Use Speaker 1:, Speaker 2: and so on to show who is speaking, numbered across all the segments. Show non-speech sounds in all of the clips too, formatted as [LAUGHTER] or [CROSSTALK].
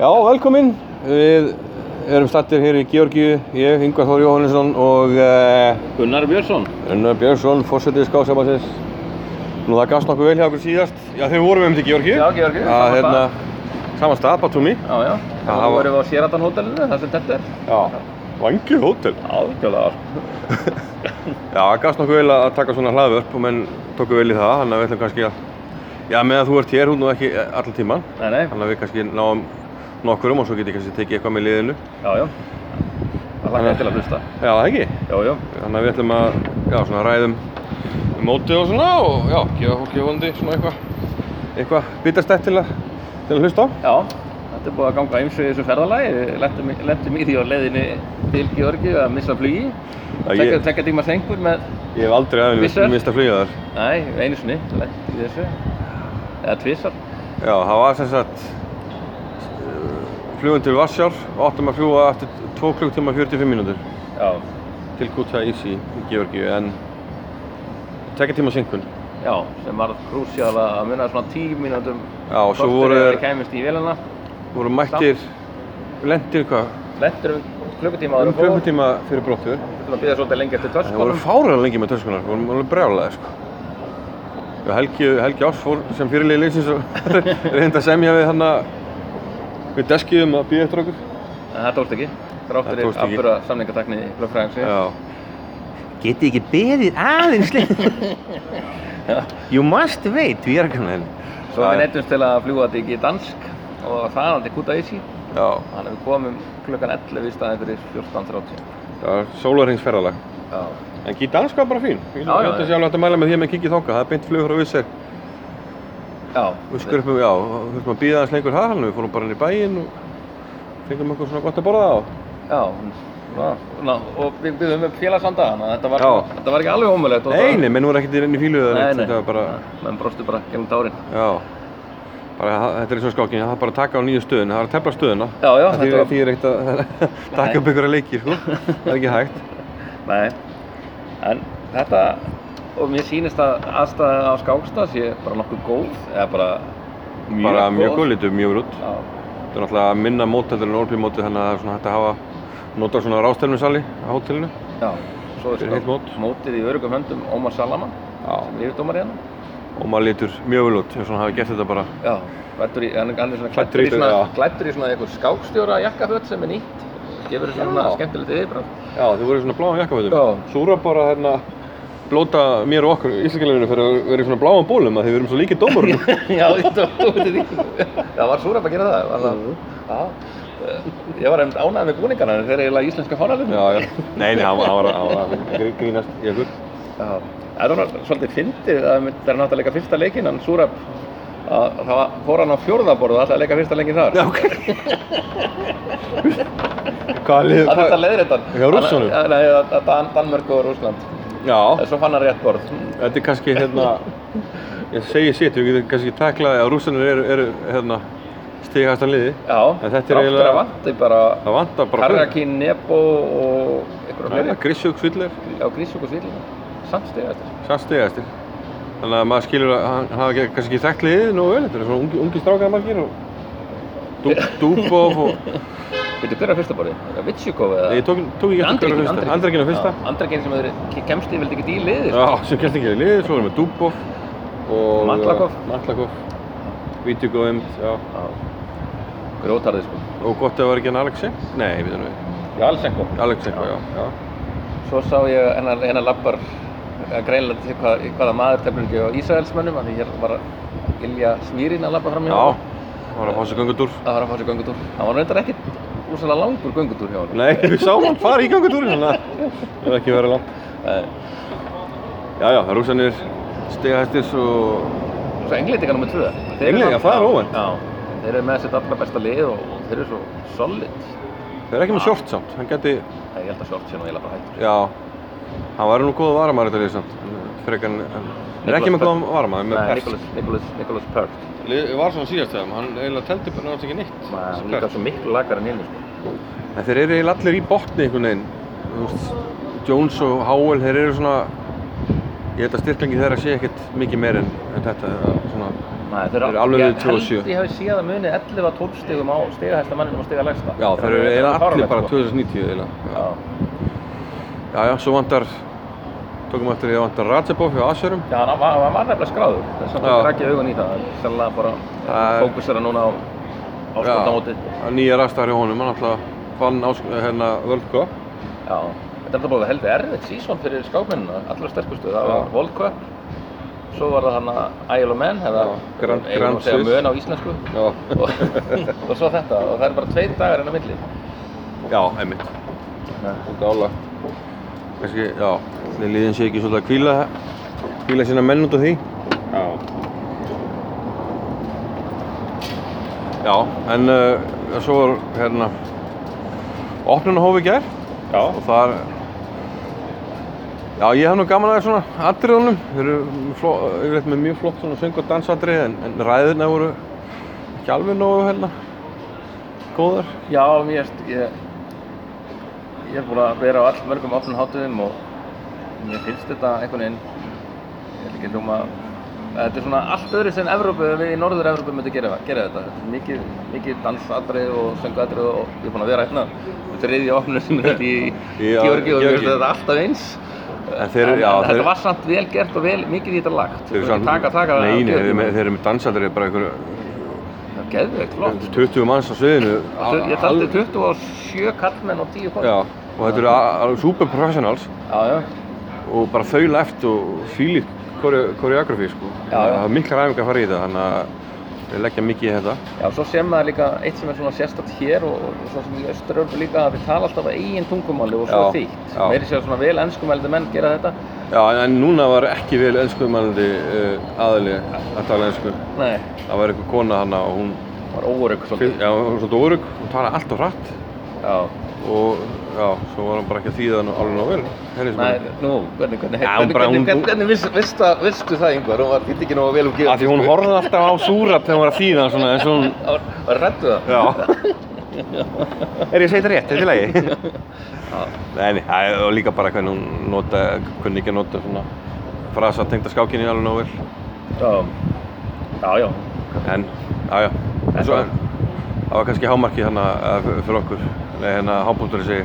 Speaker 1: Já, velkomin. Við erum stattir hér í Georgíu, ég, Yngvar Þór Jóhannesson og eh,
Speaker 2: Gunnar Björnsson
Speaker 1: Unnar Björnsson, fórsetið skáðsambandins. Nú það gafst nokkuð vel hjá okkur síðast. Já, þegar við vorum um til Georgíu.
Speaker 2: Já, Georgíu,
Speaker 1: Að,
Speaker 2: sama
Speaker 1: hérna,
Speaker 2: stað.
Speaker 1: sama stað, Batumi.
Speaker 2: Já, já,
Speaker 1: Já,
Speaker 2: þá
Speaker 1: það var-
Speaker 2: vorum við á Sheraton hótelinu, það sem þetta er
Speaker 1: Já. Vangið hótel.
Speaker 2: Já, kjóðlega
Speaker 1: Já, það gafst nokkuð vel að taka svona hlaðvörp og menn tóku vel í það, þannig að við ætlum kannski að... Já, meðan þú ert hér, hún nú ekki allan tíman.
Speaker 2: Nei, nei,
Speaker 1: Þannig að við kannski náum nokkurum og svo getið kannski tekið eitthvað með liðinu.
Speaker 2: já, já Það lakka til að hlusta
Speaker 1: Já, það ekki?
Speaker 2: Já, já,
Speaker 1: Þannig að við ætlum að já, svona, ræðum um mótið og svona og já, gefa fólki vonandi svona eitthvað eitthvað bitastætt til, að- til að hlusta á.
Speaker 2: já Þetta er búið að ganga eins og í þessu ferðalagi Við lentum í- Lentum í því á leiðinni til Georgi að missa flugi
Speaker 1: Já,
Speaker 2: Tekka,
Speaker 1: ég-
Speaker 2: tekka tíma sengur með,
Speaker 1: Ég hef aldrei aðeins
Speaker 2: Vissar?
Speaker 1: mist að flyga þar.
Speaker 2: nei, einu sinni Lent í þessu Eða tvisar
Speaker 1: Já, það var sem sagt flugum til Vassjár og áttum að fljúa eftir 2 klukkutíma og 45 mínútur
Speaker 2: Já,
Speaker 1: til Kuta Isi í Georgíu en tekja tíma synkun.
Speaker 2: já, sem var krúsjál að muna svona tíu mínútum
Speaker 1: Já, og svo
Speaker 2: korter
Speaker 1: voru
Speaker 2: eða
Speaker 1: þeir-
Speaker 2: þeir kæmist í vélina
Speaker 1: Voru mættir, lendir hvað,
Speaker 2: Lentur um klukkutíma áður
Speaker 1: um
Speaker 2: en fór.
Speaker 1: klukkutíma fyrir brottfjör.
Speaker 2: Þurfum að býða svolítið lengi eftir
Speaker 1: Það voru
Speaker 2: törskunum.
Speaker 1: fárað lengi með töskunar, voru alveg brjálæði sko. Já, Helgi, Helgi Ás fór sem fyrirlið liðsins og [LAUGHS] reyndi að semja við hann að við deskiðum að býja eftir okkur.
Speaker 2: En það tókst ekki. Þrátt
Speaker 1: Það
Speaker 2: fyrir
Speaker 1: tókst ekki.
Speaker 2: afbúra samningatakni lögfræðingsins.
Speaker 1: Já.
Speaker 3: Getið ekki beðið aðeins lengur?
Speaker 1: [LAUGHS]
Speaker 3: you must wait, við erum komin.
Speaker 2: Svo
Speaker 1: Já,
Speaker 2: við
Speaker 1: já.
Speaker 2: neytumst til að fljúa þetta ekki í dansk og þaðan til Kuta Ísi.
Speaker 1: Já.
Speaker 2: Þannig að við komum klukkan 11 í staðin fyrir 14.30.
Speaker 1: Það var sólarhengsferðalag.
Speaker 2: Já.
Speaker 1: En gíti dansk var bara fín. Ég
Speaker 2: Já, já,
Speaker 1: held að
Speaker 2: já.
Speaker 1: sé alveg hægt að mæla með því að menn kikið þóka. Það er beint flugur á vissir.
Speaker 2: Já.
Speaker 1: Við skurpum, já, og þurftum að býða aðeins lengur það þannig að Við fórum bara inn í bæinn og fengum okkur svona gott að borða á.
Speaker 2: Já. Ná, ná, og við byggðum upp félagsanda þannig að þetta var,
Speaker 1: Já.
Speaker 2: þetta var ekki alveg ómulegt.
Speaker 1: Nei, nei, menn voru ekkert inn í fíluðu
Speaker 2: Nei, nei.
Speaker 1: þetta var bara,
Speaker 2: Menn brostu bara gegnum tárin.
Speaker 1: Já, bara, það- þetta er eins og skákin, það er bara að taka á nýju stöðuna, það er að tefla stöðuna.
Speaker 2: Já, já,
Speaker 1: þetta
Speaker 2: þetta
Speaker 1: var...
Speaker 2: var-
Speaker 1: Því er ekkert að [LAUGHS] taka upp einhverja leikir, sko. það er ekki hægt.
Speaker 2: Nei, en þetta, og mér sýnist að aðstæða á Skákstað sé bara nokkuð góð, eða bara mjög
Speaker 1: bara
Speaker 2: góð.
Speaker 1: mjög góð, litur mjög út.
Speaker 2: Já,
Speaker 1: Þetta er náttúrulega minna mót heldur en orðbímótið, þannig að það er svona hægt að hafa, nota svona rástefnusali á hótelinu.
Speaker 2: já, svo er
Speaker 1: Fyrir heilt mót.
Speaker 2: mótið í örugum höndum Ómar Salaman,
Speaker 1: Já.
Speaker 2: sem er yfirdómar hérna.
Speaker 1: Og maður litur mjög vel út, eins og hann hafi gert þetta bara.
Speaker 2: Já, klættur í, hann, hann er svona
Speaker 1: Klæddur í
Speaker 2: klæddur svona,
Speaker 1: þetta, já.
Speaker 2: klættur í svona eitthvað skákstjóra jakkaföt sem er nýtt, gefur þessu svona
Speaker 1: Já.
Speaker 2: skemmtilegt yfirbráð.
Speaker 1: Já, þið voru í svona bláum jakkafötum.
Speaker 2: Já.
Speaker 1: Súra bara hérna blóta mér og okkur íslendingalefinu fyrir að vera í svona bláum bólum að þið verum svo líkið dómurinn.
Speaker 2: já, þetta var tótið í, það var súraf að gera það, var það, já. Eh, Ég var einmitt ánægð með búningana, þeir eru eiginlega íslenska fánalinn.
Speaker 1: já, já. Nei, nei, hann var- hann var hann var að grínast í okkur.
Speaker 2: Já, það var svolítið fyndið að það er náttúrulega fyrsta leikinn, hann Súrab, að það var- fór hann á fjórðaborð og alltaf að leika fyrsta leikin þar.
Speaker 1: Já, ok. Hvað lið?
Speaker 2: Það þurfti að leiðrétta hann.
Speaker 1: Hjá Rússunum?
Speaker 2: Hann- Nei, að- að Dan, Danmörk og Rúsland.
Speaker 1: Já,
Speaker 2: Svo fann hann rétt borð.
Speaker 1: þetta er kannski hérna, ég segi sitt, við getum kannski taklað að rússanir eru, eru hérna, stigast að liði.
Speaker 2: Já,
Speaker 1: En þetta er
Speaker 2: þrátt fyrir
Speaker 1: eiginlega-
Speaker 2: að vanti bara
Speaker 1: Það vantar bara
Speaker 2: Karjakin, Nebo og einhverja
Speaker 1: Næja,
Speaker 2: fleiri.
Speaker 1: Grissjók Sviller,
Speaker 2: Já, Grísjók og Svíli. Samt stegið þetta.
Speaker 1: samt stigastir. Þannig að maður skilur að hann hann hafi ekki- kannski ekki þekkt liðið nógu vel, þetta eru svona ungi, ungi strákaða margir [LAUGHS] og Dú- Dúbov og,
Speaker 2: Veitu, hver er fyrsta borðið? Vitsjukov eða?
Speaker 1: nei, ég tók, tók ekki eftir hverju fyrsta, Andrekinn á fyrsta.
Speaker 2: Andrekin sem þeir kemst í, vildi ekki í liðið. sko.
Speaker 1: Já, sem kemst ekki í liðið, svo erum við Dúbov og
Speaker 2: Matlakov.
Speaker 1: Matlakov, Vítjúkov, einmitt, já.
Speaker 2: Já. Grótarðið sko.
Speaker 1: Og gott ef það var ekki hann Alexei? Nei, við þannig við.
Speaker 2: Já, alls einhver.
Speaker 1: Alexei, já. já. já.
Speaker 2: Svo sá ég hennar, hennar lappar greinlega til hvað, hvaða maður tefnir ekki á Ísraelsmönnum að því hér var Ilja Smýrin að lappa fram hjá
Speaker 1: Já,
Speaker 2: honum.
Speaker 1: það var að fá sér göngutúr.
Speaker 2: Það var að fá sér göngutúr. Það var reyndar ekkert úrsalega langur göngutúr hjá honum.
Speaker 1: Nei, [LAUGHS] við sáum hann fara í göngutúrin, þannig að það er ekki verið langt.
Speaker 2: Eh,
Speaker 1: Já, já, það rúsanir, stegahæstis og...
Speaker 2: Svo englendingar nummið tvö. Þeir eru
Speaker 1: Englendingar,
Speaker 2: samt-
Speaker 1: það er óvænt.
Speaker 2: Já, þeir eru með sitt allra besta lið og, og þeir eru svo solid.
Speaker 1: Þeir er ekki með short samt, hann geti...
Speaker 2: Það ég held að short sé nú eiginlega bara hættur.
Speaker 1: Já, hann væri nú góð varamæður þetta lið samt. Frekar en... en- Hann er ekki með góðan varamæður, með
Speaker 2: Nei,
Speaker 1: pers.
Speaker 2: Nicholas, Nicholas, Nicholas Pert.
Speaker 1: Lið var svona síðast þegar, hann eiginlega teldi bara náttúrulega ekki neitt.
Speaker 2: Hann er líka svo miklu lagar en hinn, sko.
Speaker 1: En þeir eru eiginlega allir í botni einhvern veginn. Þú veist, Jones og Howell, þeir eru svona... Ég held að styrklingi þeirra sé ekkert mikið meir en, en þetta. eða Svona,
Speaker 2: Maður, þeir
Speaker 1: Þeir eru alveg við
Speaker 2: ég
Speaker 1: 27.
Speaker 2: held ég hafi séð að munið 11-12 stigum á stigahæsta manninum og stigalægsta.
Speaker 1: Já, þeir eru eiginlega allir bara 2090 eiginlega.
Speaker 2: sko. Já,
Speaker 1: Já, já, svo vantar, tókum eftir því að vantar Rajabov hjá Asurum.
Speaker 2: já hann, var, hann var nefnilega skráður, þess að
Speaker 1: Já.
Speaker 2: hann rakið augun í það. en Sennilega bara
Speaker 1: Það er-
Speaker 2: fókusera núna á áskottamótið. Já,
Speaker 1: að nýja rastar hjá honum, hann alltaf fann ásk, hérna World Cup.
Speaker 2: þetta er alltaf búið heldur erfitt sísón fyrir skákmennina, allra sterkustu. Það
Speaker 1: Já.
Speaker 2: var World Cup, svo var það hann að Isle of Man, eða
Speaker 1: Já, Grand-
Speaker 2: eigum við
Speaker 1: Grand
Speaker 2: að segja
Speaker 1: Swiss.
Speaker 2: mun á íslensku. [LAUGHS]
Speaker 1: Já,
Speaker 2: og, og svo þetta, og það er bara tveir dagar enn á milli.
Speaker 1: já, einmitt, svolítið álagt. Kanski, já, þeir liðin sé ekki svolítið að kvíla, kvíla sína menn út af því.
Speaker 2: Já.
Speaker 1: Já, en uh, svo var hérna opnunahófi gær
Speaker 2: Já.
Speaker 1: og þar Já, ég hef nú gaman aðeins svona atriðunum þeir eru fló, yfirleitt með mjög flott svona söng- og dansatrið en, en ræðina voru ekki alveg nógu hérna góðar
Speaker 2: Já, mér erst, ég, ég er búin að vera á all mörgum opnum hátuðum og mér finnst þetta einhvern veginn, ég vil ekki hljóma, þetta er svona allt öðru sem Evrópu, við í Norður-Evrópu myndum gera, gera þetta. Þetta er Mikið, mikið dansatrið og sönguatrið og ég er búin að vera hérna um þriðja opnum sem er í
Speaker 1: Já,
Speaker 2: Georgi og mér finnst
Speaker 1: Georgíu.
Speaker 2: þetta alltaf eins.
Speaker 1: En þeir eru, já,
Speaker 2: þetta
Speaker 1: þeir,
Speaker 2: var samt vel gert og vel, mikið í þetta lagt.
Speaker 1: þeir
Speaker 2: Þú
Speaker 1: eru
Speaker 2: ert ekki
Speaker 1: svona-
Speaker 2: taka, taka,
Speaker 1: Nei, nei,
Speaker 2: gera
Speaker 1: þeir eru
Speaker 2: þetta.
Speaker 1: með, þeir eru með dansatrið bara einhverju
Speaker 2: Það er geðveikt flott.
Speaker 1: 20 manns á sviðinu
Speaker 2: Al- Ég taldi 27 kallmenn og 10
Speaker 1: Já,
Speaker 2: konur.
Speaker 1: og þetta eru a- alveg super professionals
Speaker 2: Já, já.
Speaker 1: og bara þaula eftir og fílið koreografi sko.
Speaker 2: Já, já.
Speaker 1: Það er mikla ræfingar að fara í þetta þannig að þeir leggja mikið í þetta.
Speaker 2: Já, svo sem maður líka eitt sem er svona sérstætt hér og, og svo sem í Östurörfu líka að við tala alltaf á eigin tungumáli og svo
Speaker 1: Já,
Speaker 2: þýtt.
Speaker 1: já.
Speaker 2: Meiri séu svona vel ennskumældi menn gera þetta.
Speaker 1: Já, en- en núna var ekki vel enskumælandi uh, aðili að tala ensku.
Speaker 2: Nei,
Speaker 1: Það var einhver kona hana og hún,
Speaker 2: það var óörygg svolítið.
Speaker 1: já, hún var svolítið órug, hún talaði alltaf hratt
Speaker 2: Já.
Speaker 1: og já, svo var hann bara ekki að þýða hann alveg nóg vel. Henni sem
Speaker 2: Nei, nú, hvernig, hvernig,
Speaker 1: Já, hún
Speaker 2: hvernig,
Speaker 1: bara- hún-
Speaker 2: hvernig, hvernig, hvernig viss, vistu, vistu það yngvar? Hún var hitt ekki nógu vel um
Speaker 1: Af því hún horfði alltaf á súrat þegar hún var að þýða hann svona eins og hún,
Speaker 2: Var, var rættu það?
Speaker 1: já. er ég að segja þetta rétt, þetta er í lagi?
Speaker 2: Já.
Speaker 1: Nei, nei, það er- og líka bara hvernig hún nota, hvernig ekki að nota svona frasa tengda skákinni alveg nóg vel.
Speaker 2: Já, já, já.
Speaker 1: En, já, já. En svo, það var kannski hámarkið hérna eh, f- fyrir okkur, nei, hérna hábúndur í sig.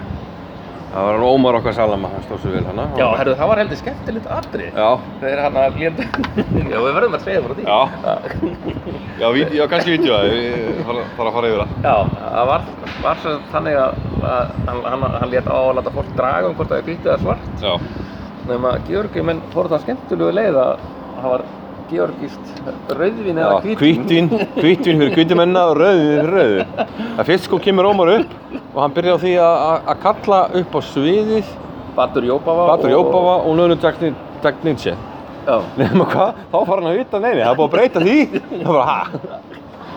Speaker 1: Það var hann Ómar okkar Salama, hann stóð sér vel hérna.
Speaker 2: Já, herru, það var heldur skemmtilegt atrið.
Speaker 1: Já,
Speaker 2: Þeir hann að lenda... [LAUGHS] Já, við verðum að segja frá því.
Speaker 1: Já. já, vídeo, já kannski vídeo, ég þarf að fara yfir það.
Speaker 2: Já, það var, var sem sagt þannig að, að hann, hann, hann lét á að láta fólk draga um hvort það er hvítið eða svart
Speaker 1: Já,
Speaker 2: nema Georgi menn fór það skemmtilegu leið að það var Georgist rauðvin
Speaker 1: já
Speaker 2: eða hvítvín
Speaker 1: hvítvín, hvítvín fyrir hvítumennina og rauðin fyrir rauðu. Það fyrst sko kemur Ómar upp og hann byrja á því að- að að kalla upp á sviðið
Speaker 2: Batur Jópava
Speaker 1: Batur
Speaker 2: og-
Speaker 1: Jópava og Nönu Dagninse.
Speaker 2: Já,
Speaker 1: Nefnum hvað, þá fara hann að vita, nei, nei, það er búið að breyta því. Það var bara, ha?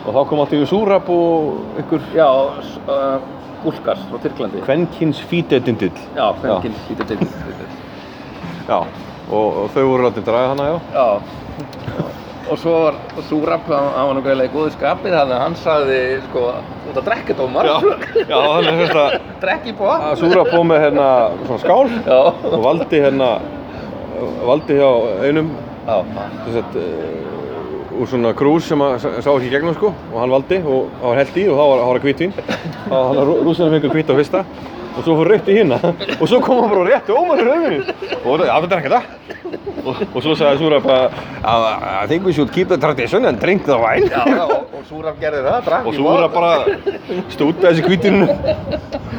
Speaker 1: Og þá kom allt yfir súrap og ykkur
Speaker 2: já s- uh, Gúlkars frá Tyrklandi
Speaker 1: kvenkins fítedindill.
Speaker 2: Já, fengil hvítið til
Speaker 1: Já, og, og þau voru látið draga hana, já.
Speaker 2: Já Og svo var Súrap, hann hann var nú greiðlega í góðu skapið þannig að hann sagði, sko, þú ert að drekka dómar [LAUGHS]
Speaker 1: já þannig að þetta,
Speaker 2: Drekki på
Speaker 1: að súrap fóð með hérna svona skál
Speaker 2: Já,
Speaker 1: og valdi hérna, valdi hjá einum,
Speaker 2: já,
Speaker 1: þess að, uh, úr svona krús sem að sá sá ekki í gegnum sko og hann valdi og það var held í og þá var, þá var hvítvín. Þá var hann að rúsina fengur hvít á fyrsta og svo fór rautt í hinna og svo kom hann bara og rétti ómar í rauðinu og það var drekka það. Og, og svo sagði Súrap að I think we should keep the tradition and drink the wine
Speaker 2: Já, já, og, og Súraf gerði það, drakk
Speaker 1: Og svo voru það bara stúta þessi kvítinu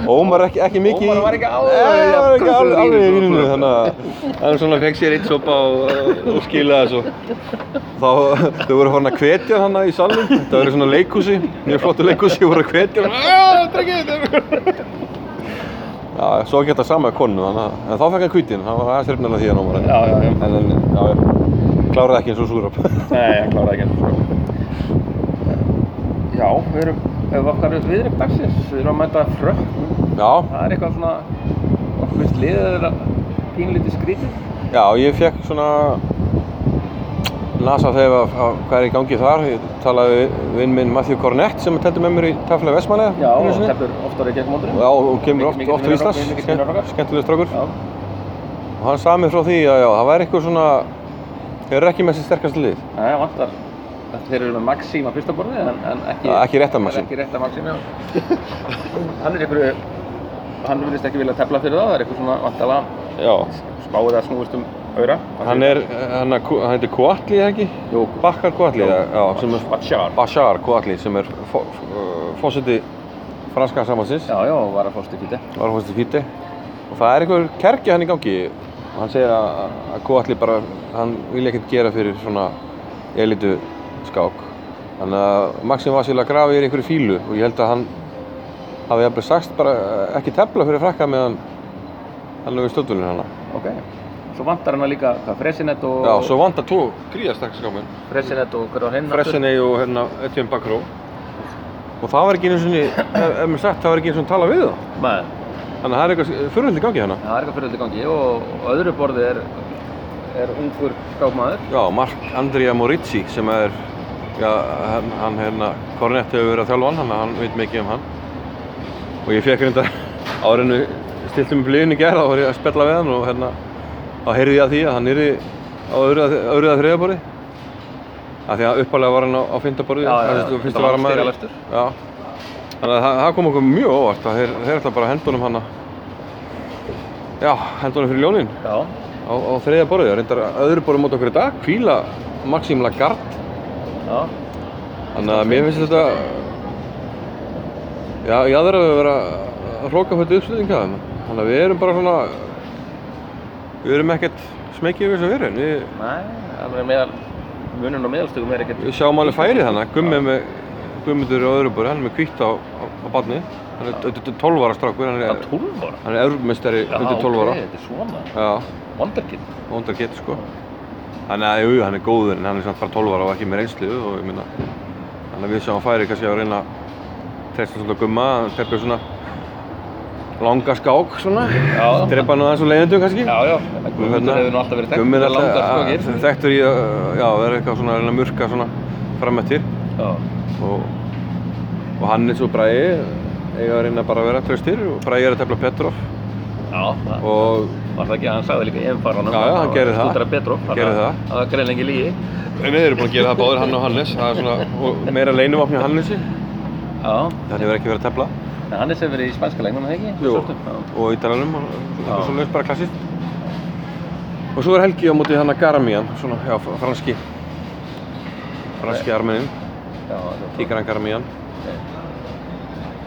Speaker 1: Ómar ekki, ekki mikið í-
Speaker 2: Ómar var ekki alveg-
Speaker 1: Nei, hann var ekki alveg, alveg í
Speaker 2: Súrap.
Speaker 1: víninu Þannig að hann svona fekk sér eitt sopa og, og skilaði þessu Þá, þau voru farin að hvetja hana í salnum Það voru svona leikhúsi, mjög flottu leikhúsi voru að hvetja hana "Já, drekkið þetta." Já, svo geta sama konu þannig að En þá fekk hann kvítin, það var aðeins hrifnilega því hann Ómar en-
Speaker 2: Já, já, já.
Speaker 1: En, en, já, já, kláraði ekki eins og súrap
Speaker 2: Nei, hann kláraði ekki eins og Súraf. Já, við erum, ef við okkar við erum dagsins, við erum að mæta frökkum.
Speaker 1: [LAUGHS] Já,
Speaker 2: Það er eitthvað svona, okkur finnst liðið þeirra pínlítið skrítið.
Speaker 1: Já, ég fekk svona nasa þegar að, að hvað er í gangi þar. Ég talaði við vinn minn Matthew Cornett sem tætti með mér í Tafla Vestmanlega.
Speaker 2: Já, og teppur oftar í gegnum móturinn.
Speaker 1: Já, og kemur oft,
Speaker 2: Mikið-
Speaker 1: oft til
Speaker 2: mikið
Speaker 1: Íslands,
Speaker 2: vinur okkar, mikið vinur okkar.
Speaker 1: skemmtileg strákur.
Speaker 2: Já,
Speaker 1: Og hann sagði mér frá því að já, það væri eitthvað svona, þeir eru ekki með sér sterkast lið.
Speaker 2: það vantar þeir eru með Maxima fyrsta borðið en, en ekki,
Speaker 1: Ja, ekki rétta Maxim.
Speaker 2: ekki rétta Maxim já. hann er einhverju hann vilist ekki vilja tefla fyrir það það er eitthvað svona vantala
Speaker 1: Já.
Speaker 2: spáið að snúist um aura
Speaker 1: Hann er, hann, er- hann heitir Kvalli, eða ekki?
Speaker 2: Jú.
Speaker 1: Bakkar Kvalli, já, já, sem er
Speaker 2: Bachar
Speaker 1: Bashar Kvalli, sem er fo- f- fósiti franska samansins,
Speaker 2: já já og var að fórstu kýti
Speaker 1: var fósiti fíti. Og það er einhver kergja hann í gangi. Hann segir að að Kvalli bara, hann vil ekkert gera fyrir svona elitu skák. Þannig að Maxim Vassil að grafi er einhverju fílu og ég held að hann hafi jafnvel sagst bara eh, ekki tefla fyrir frakka meðan hann lögur stöðvölinn hana.
Speaker 2: ok svo vantar hann líka hvað Fresinet og
Speaker 1: Já, svo vanda tvo gríðastakkskáminn.
Speaker 2: Fresinet og hver var hinn aftur?
Speaker 1: Fresheney og hérna Etienne Bakró og það var ekki einu sinni, ef ef mér sagt, það var ekki einu sinni að tala við þá
Speaker 2: Nei,
Speaker 1: þannig að það er eitthvað fyrirhaldi gangi hérna
Speaker 2: það er eitthvað fyrir þetta gangi og og öðru borðið er er ungur skákmaður
Speaker 1: Já, Mark Andrea Morizzi sem er, já, hann, hann hérna, Kornett hefur verið að þjálfa hann, þannig að hann veit mikið um hann og ég fekk hérna áriðinu stiltum blíðinu gera og var ég að spella við hann og hérna, þá heyrði ég að því að hann yrði á öðru að- öðru að þriðaborði af því að uppalega var hann á, á fyndaborði,
Speaker 2: Já, já, já,
Speaker 1: finnst
Speaker 2: þetta
Speaker 1: að
Speaker 2: var
Speaker 1: vara maður
Speaker 2: stigalaustur.
Speaker 1: Já, þannig að það, það kom okkur mjög óvart að þeir, þeir ætla bara að henda honum hann já, henda honum fyrir ljónin
Speaker 2: já
Speaker 1: á, á þriðja borðið, reyndar öðru borðið mót okkur í dag, kvíla Maxim Lagarde
Speaker 2: Já,
Speaker 1: þannig að mér finnst þetta já, ég aðra við vera að hróka fyrir uppslutninga þeim þannig að við erum bara svona við erum ekkert smekið yfir þess að vera við,
Speaker 2: nei, það er meðal munun og meðalstugum er ekkert
Speaker 1: við sjáum alveg færið þannig Gummi með Gummiður á öðru borðið, hann er með kvítt á, á, á barni hann er þetta er 12 ára strákur hann er,
Speaker 2: Það er 12 ára
Speaker 1: hann er erfmestari undir 12 ára
Speaker 2: ok, þetta er svona
Speaker 1: já,
Speaker 2: Wonderkind
Speaker 1: vondar getur sko þannig að jú, hann er góður en hann er samt bara 12 ára og ekki með reynslu og ég minna þannig að við sem hann færi kannski að reyna að treysta svolítið á gumma, teppið svona langa skák svona
Speaker 2: Já.
Speaker 1: drepa hann aðeins og leiðindu kannski
Speaker 2: Já, já, Guðmundur hefur nú alltaf verið þekkt
Speaker 1: Gummi er
Speaker 2: fyrir langar
Speaker 1: hérna- alltaf
Speaker 2: skokir.
Speaker 1: þekktur í að já, vera eitthvað svona að reyna að murka svona framöttir
Speaker 2: Já,
Speaker 1: og, og hann eins og Bragi eiga að reyna bara að vera traustir og Bragi er að tefla Petrov
Speaker 2: já, það
Speaker 1: og
Speaker 2: var það ekki að hann sagði líka í faranum
Speaker 1: Já, já, hann gerði það.
Speaker 2: Stúdara Petrov
Speaker 1: Gerði það.
Speaker 2: Það var greinlega ekki lígi
Speaker 1: En við erum búin að gera það báðir hann og Hannes, það er svona og meira leinumvapni á Hannesi,
Speaker 2: Já,
Speaker 1: þannig hefur ekki verið að tefla
Speaker 2: en Hannes hefur verið í spænska leiknum, er það ekki? Svörtum, já.
Speaker 1: og ítalanum, og
Speaker 2: Já.
Speaker 1: eitthvað svona bara klassist. Og svo er Helgi á móti hann að Garamian, svona, já, fr- franski, franski armenin,
Speaker 2: Já, það er
Speaker 1: Tigran Garamian.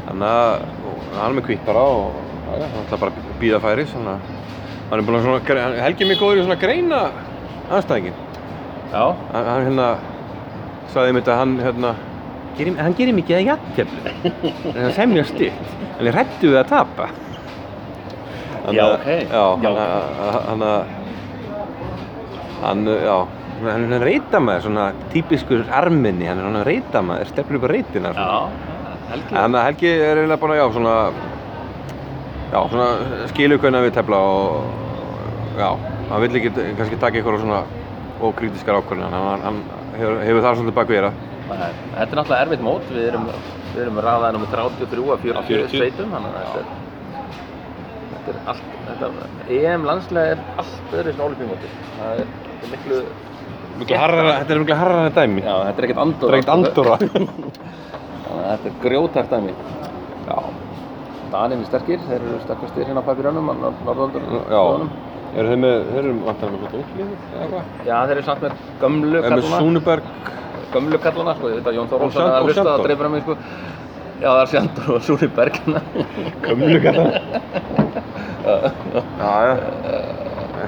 Speaker 1: Þannig að og hann er með kvitt bara og já, já, hann ætla bara að býða færis, þannig að hann er búin að svona, gre- hann- Helgi er mjög góður í svona að greina anstæðingin.
Speaker 2: Já,
Speaker 1: Hann, hann hérna, sagði mér þetta, hann hérna,
Speaker 3: Gerir, hann gerir mikið að jafnteflu.
Speaker 1: [LAUGHS] en það semja stutt en ég hrættu við að tapa Þannig
Speaker 2: Já,
Speaker 1: að-
Speaker 2: ok.
Speaker 1: já,
Speaker 2: Já.
Speaker 1: hann að- að- hann að hann, já hann er reytamaður, svona típiskur arminni, hann er svona reytamaður stefnir upp á reytina svona.
Speaker 2: já, helgi
Speaker 1: þannig að Helgi er eiginlega búin að, já, svona já, svona skilur hvernig við tefla og já, hann vill ekki kannski taka ykkur svona ókrítiskar ákvörðin hann, hann hefur, hefur það svolítið bak við gera
Speaker 2: Þetta er náttúrulega erfitt mót, við erum, við erum raðaðið um 33 að 40,
Speaker 1: Að 40.
Speaker 2: sveitum, þannig að þetta er, þetta er allt, þetta, EM landslega er allt öðru sem ólipímóti. Það er, þetta er miklu,
Speaker 1: Miklu harðara- þetta er miklu harrara dæmi
Speaker 2: já, þetta er ekkert andor.
Speaker 1: þetta er ekkert andorra
Speaker 2: Þannig að þetta er grjótært af mér.
Speaker 1: [LAUGHS] já
Speaker 2: Daninn er sterkir, þeir eru sterkastir hérna á papirönum, á Norðaldur,
Speaker 1: Já, eru þeir með, þeir eru vantar með gott unglið eða hvað?
Speaker 2: Já, þeir eru samt með gömlu
Speaker 1: Eða með
Speaker 2: kallana,
Speaker 1: Súnuberg,
Speaker 2: gömlu kallana, sko, ég veit að Jón Þór
Speaker 1: Og
Speaker 2: Rónsson
Speaker 1: Sjandor-
Speaker 2: er að
Speaker 1: og
Speaker 2: hlusta
Speaker 1: Sjandor.
Speaker 2: að dreifra mig, sko. Já, það er Sjandur og Súri Bergna.
Speaker 1: gömlu kallar. Já, já,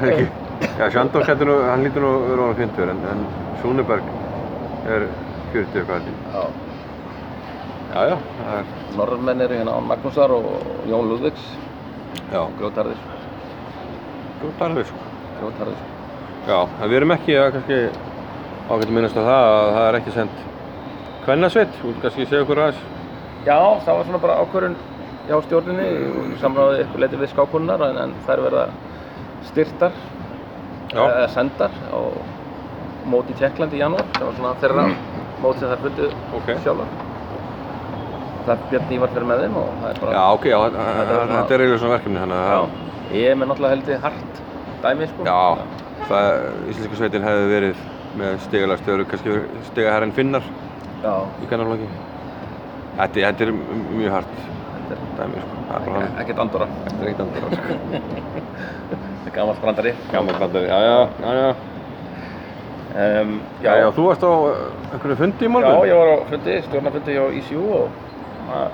Speaker 1: er ekki. Já, Sjöndók hættur nú, hann lítur nú vera ára 50 en, en Súnuberg er 40 eitthvað held ég.
Speaker 2: Já.
Speaker 1: Já, já, það er,
Speaker 2: Norrmenn eru hérna Án Magnúsar og Jón Lúðvíks
Speaker 1: já,
Speaker 2: Grjótarðir
Speaker 1: góð darfið sko.
Speaker 2: Grjótarðir
Speaker 1: Já, en við erum ekki að kannski ágættu minnast á það að það er ekki sendt kvennasveit, þú vilt kannski segja okkur aðeins.
Speaker 2: Já, það var svona bara ákvörðun hjá stjórninni og samráði ykkur leiti við skákunnar en, en þær verða styrtar
Speaker 1: Já.
Speaker 2: eða sendar á móti í Tjekklandi í janúar það var svona þeirra mót sem þær fundu
Speaker 1: Ok.
Speaker 2: sjálfar Það er Björn Ívar fyrir með þeim og það er bara
Speaker 1: Já, ok, já, þetta
Speaker 2: er svona-
Speaker 1: þetta er eiginlega svona verkefni, þannig að það-
Speaker 2: Ég er með náttúrulega heldur hart dæmi sko
Speaker 1: Já, það, íslensku sveitin hefði verið með stigala störu, kannski stiga herrin finnar
Speaker 2: Já,
Speaker 1: í kannarflokki. Þetta, þetta er m- mjög hart
Speaker 2: þetta er
Speaker 1: dæmi, sko. Það er bara hann.
Speaker 2: ekkert andora.
Speaker 1: Þetta er ekkert andur, sko.
Speaker 2: Þetta er gammal brandari.
Speaker 1: Gaman bandari, já, já, já, já.
Speaker 2: Um,
Speaker 1: Já, já, þú varst á uh, einhverju fundi í morgun.
Speaker 2: Já, ég var á fundi, stjórnarfundi hjá ECU og að,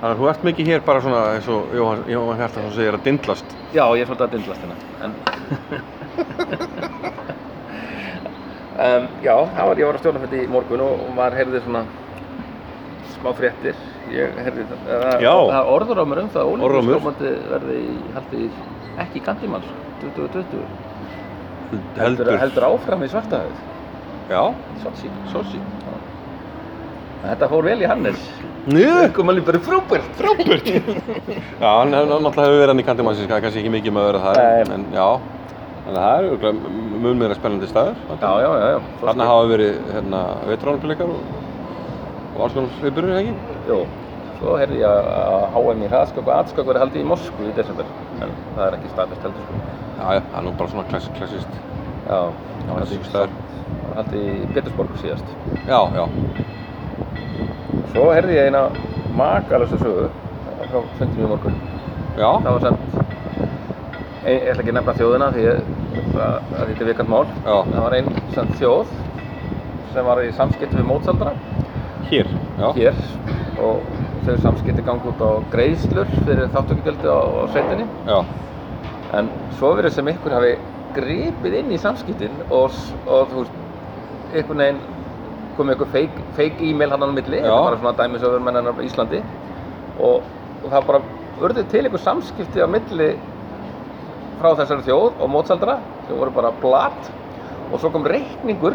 Speaker 1: Þannig að þú ert mikið hér bara svona eins og Jóhann, Jóhann Hjartarsson segir að dindlast.
Speaker 2: já, ég er svolítið að dindlast hérna. En, [LAUGHS] um, já, það var, ég var á stjórnarfundi í morgun og, og maður heyrði svona smá fréttir. Ég heyrði það, það-
Speaker 1: Já.
Speaker 2: það er orður á mér um það að
Speaker 1: Orðrómur.
Speaker 2: Ólimpíuskómandi verði í, haldið í, ekki í sko. Gandimanns, 2020.
Speaker 1: Heldur.
Speaker 2: Heldur áfram í svartahauð,
Speaker 1: Já,
Speaker 2: Sotsi.
Speaker 1: sósi.
Speaker 2: Þetta fór vel í Hannes.
Speaker 1: Njö!
Speaker 2: Komum alveg bara frábært, frábært.
Speaker 1: Já, hann hann náttúrulega hefur verið hann í kandimannsins, kannski ekki mikið með að vera það,
Speaker 2: Nei.
Speaker 1: en já. Þannig að það er örugglega m- mun meira spennandi staður.
Speaker 2: já, já, já, já.
Speaker 1: Þarna hafa verið, hérna, veitránupilikar og, og alls konar hlaupurir, ekki?
Speaker 2: Jú, svo heyrði ég að- að HM í hraðskök og atskök verið haldið í Moskvu í desember en það er ekki staðfest heldur sko
Speaker 1: Já, já, það er nú bara svona klass, klassist,
Speaker 2: Já,
Speaker 1: klassist staður.
Speaker 2: það var haldið í Petersborg síðast
Speaker 1: Já, já.
Speaker 2: Svo heyrði ég eina makalastu sögu eh, frá fundinu í morgun
Speaker 1: Já,
Speaker 2: Það var samt ein, ég ætla ekki að nefna þjóðina því ég, það, að þetta er vikant mál
Speaker 1: Já.
Speaker 2: Það var ein samt þjóð sem var í samskipti við mótsaldra
Speaker 1: hér. Já,
Speaker 2: hér og þau samskipti gangi út á greiðslur fyrir þáttökugjaldi á, á sveitinni
Speaker 1: já.
Speaker 2: En svo verður sem ykkur hafi gripið inn í samskiptin og, s- og þú veist, einhvern veginn komið ykkur fake, fake e-mail hann á milli,
Speaker 1: Já.
Speaker 2: þetta er bara svona dæmisöfurmennan hérna á Íslandi og, og það bara urðu til ykkur samskipti á milli frá þessari þjóð og mótsaldra sem voru bara blat og svo kom reikningur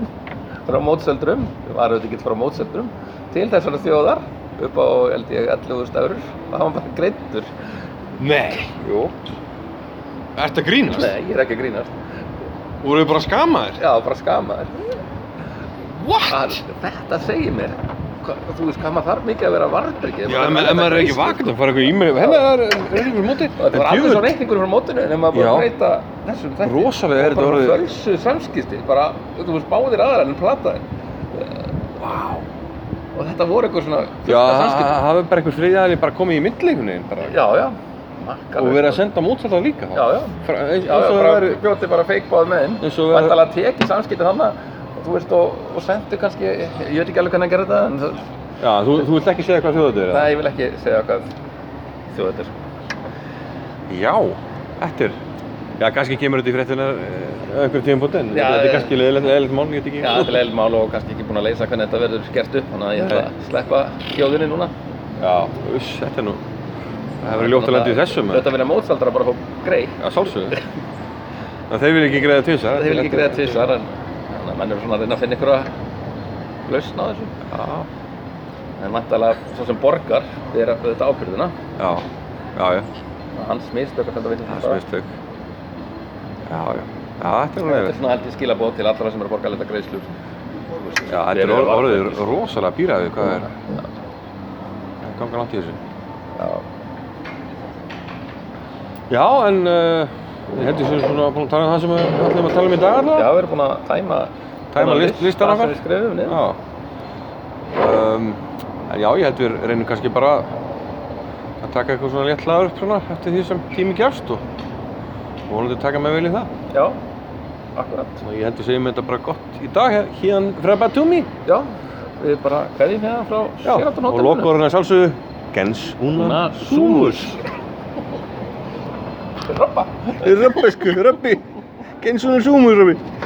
Speaker 2: [LAUGHS] frá mótsöldrum, var auðvitað ekki frá mótsöldrum, til þessari þjóðar upp á, held ég, 11.000 eurur og það var bara greittur.
Speaker 1: Nei. Jú. Ertu að grínast?
Speaker 2: Nei, ég er ekki að grínast.
Speaker 1: Voruð þið bara skamaðir?
Speaker 2: Já, bara skamaður.
Speaker 1: What?
Speaker 2: Að- Þetta segir mér. Hva- Þú veist hvað maður þarf mikið að vera varbryggjum.
Speaker 1: Já, ef ma- ef maður er ekki vakandi, það fara eitthvað í mig, hérna það er reyngur móti.
Speaker 2: Þetta var
Speaker 1: En
Speaker 2: alveg
Speaker 1: djöfull,
Speaker 2: svo reikningur frá mótinu en ef maður bara
Speaker 1: Já.
Speaker 2: breyta þessum þætti.
Speaker 1: Rosalega er þetta
Speaker 2: orðið.
Speaker 1: orðið-
Speaker 2: Bara fölsu samskipti, bara, þú veist, báðir aðrar en plataðir.
Speaker 1: Vá.
Speaker 2: Og þetta voru eitthvað svona
Speaker 1: Já,
Speaker 2: fullt af
Speaker 1: það
Speaker 2: samskipti.
Speaker 1: hafi bara einhver þriðjaðli bara komið í millileikunni bara
Speaker 2: Já, já. Makkalegt.
Speaker 1: og verið að senda mótsaldan líka þá.
Speaker 2: Já, já.
Speaker 1: Fra, eins,
Speaker 2: Já,
Speaker 1: eins
Speaker 2: já,
Speaker 1: og
Speaker 2: bara
Speaker 1: það
Speaker 2: veri...
Speaker 1: væri-
Speaker 2: bjóti bara feikbáð með þeim.
Speaker 1: Eins og
Speaker 2: Og
Speaker 1: væri-
Speaker 2: ætlaði að teki samskipti þannig. Þú veist, og, og sendu kannski, ég veit ekki alveg hvernig að gera þetta, en það,
Speaker 1: Já, þú, þú vilt ekki segja hvað þjóðatir
Speaker 2: Nei, ég vil ekki segja hvað þjóð þetta er.
Speaker 1: Já, þetta er Já, kannski kemur þetta í fréttina eh, einhver tíum búti en
Speaker 2: Já,
Speaker 1: þetta
Speaker 2: já.
Speaker 1: er kannski leiðilegt leiðilegt mál, ég veit ekki
Speaker 2: Já, þetta er leiðilegt mál og kannski ekki búin að leysa hvernig þetta verður gert upp, þannig að ég ætla að sleppa hljóðinni núna.
Speaker 1: Já, uss, þetta er nú Það hefur verið ljótt að lenda í þessum en-
Speaker 2: Þetta verður mótsaldra bara hóp grei.
Speaker 1: Já, sálsögðu En þeir vil ekki greiða til þess
Speaker 2: Það hefur ekki greiða tvisar, en þannig að menn eru svona að reyna að finna ykkur að lausna á þessu.
Speaker 1: Já,
Speaker 2: En vantalega, svo sem borgar, er auðvitað ábyrðina.
Speaker 1: já, já, já
Speaker 2: Hans mistök að þetta vilja
Speaker 1: Það er smistök Já, já, já, þetta er nú
Speaker 2: Þetta er
Speaker 1: leiðilegt
Speaker 2: svona held ég skilabóð til allra sem eru að borga leita greiðslur. Þú veist,
Speaker 1: Já, þetta
Speaker 2: hver
Speaker 1: er
Speaker 2: eru
Speaker 1: orð- orðið
Speaker 2: varnir?
Speaker 1: rosalega býræðið hvað er Það gangar langt í þessu
Speaker 2: Já.
Speaker 1: Já, en uh, ég held ég sem svona búin að tala um það sem við ætlum að tala um í dag
Speaker 2: Já,
Speaker 1: allavega
Speaker 2: við erum búin að tæma
Speaker 1: Tæma
Speaker 2: þennan
Speaker 1: list- listan
Speaker 2: það
Speaker 1: okkar.
Speaker 2: sem við skrifum niður.
Speaker 1: um, En já, ég held við reynum kannski bara að taka eitthvað svona létt hlaður upp svona eftir því sem tími gefst og og vonandi taka með vel í það
Speaker 2: Já, akkurat.
Speaker 1: og ég held við segjum þetta bara gott í dag hér- héðan frá Batumi
Speaker 2: Já, við bara hverjum hérna frá
Speaker 1: Já,
Speaker 2: Sheraton
Speaker 1: og
Speaker 2: hótelinu.
Speaker 1: lokaðurinn er sjálfsögðu Gens una
Speaker 2: Una
Speaker 1: sumus
Speaker 2: Robba.
Speaker 1: Röbbi sko, röbbi Gens una sumus, röbbi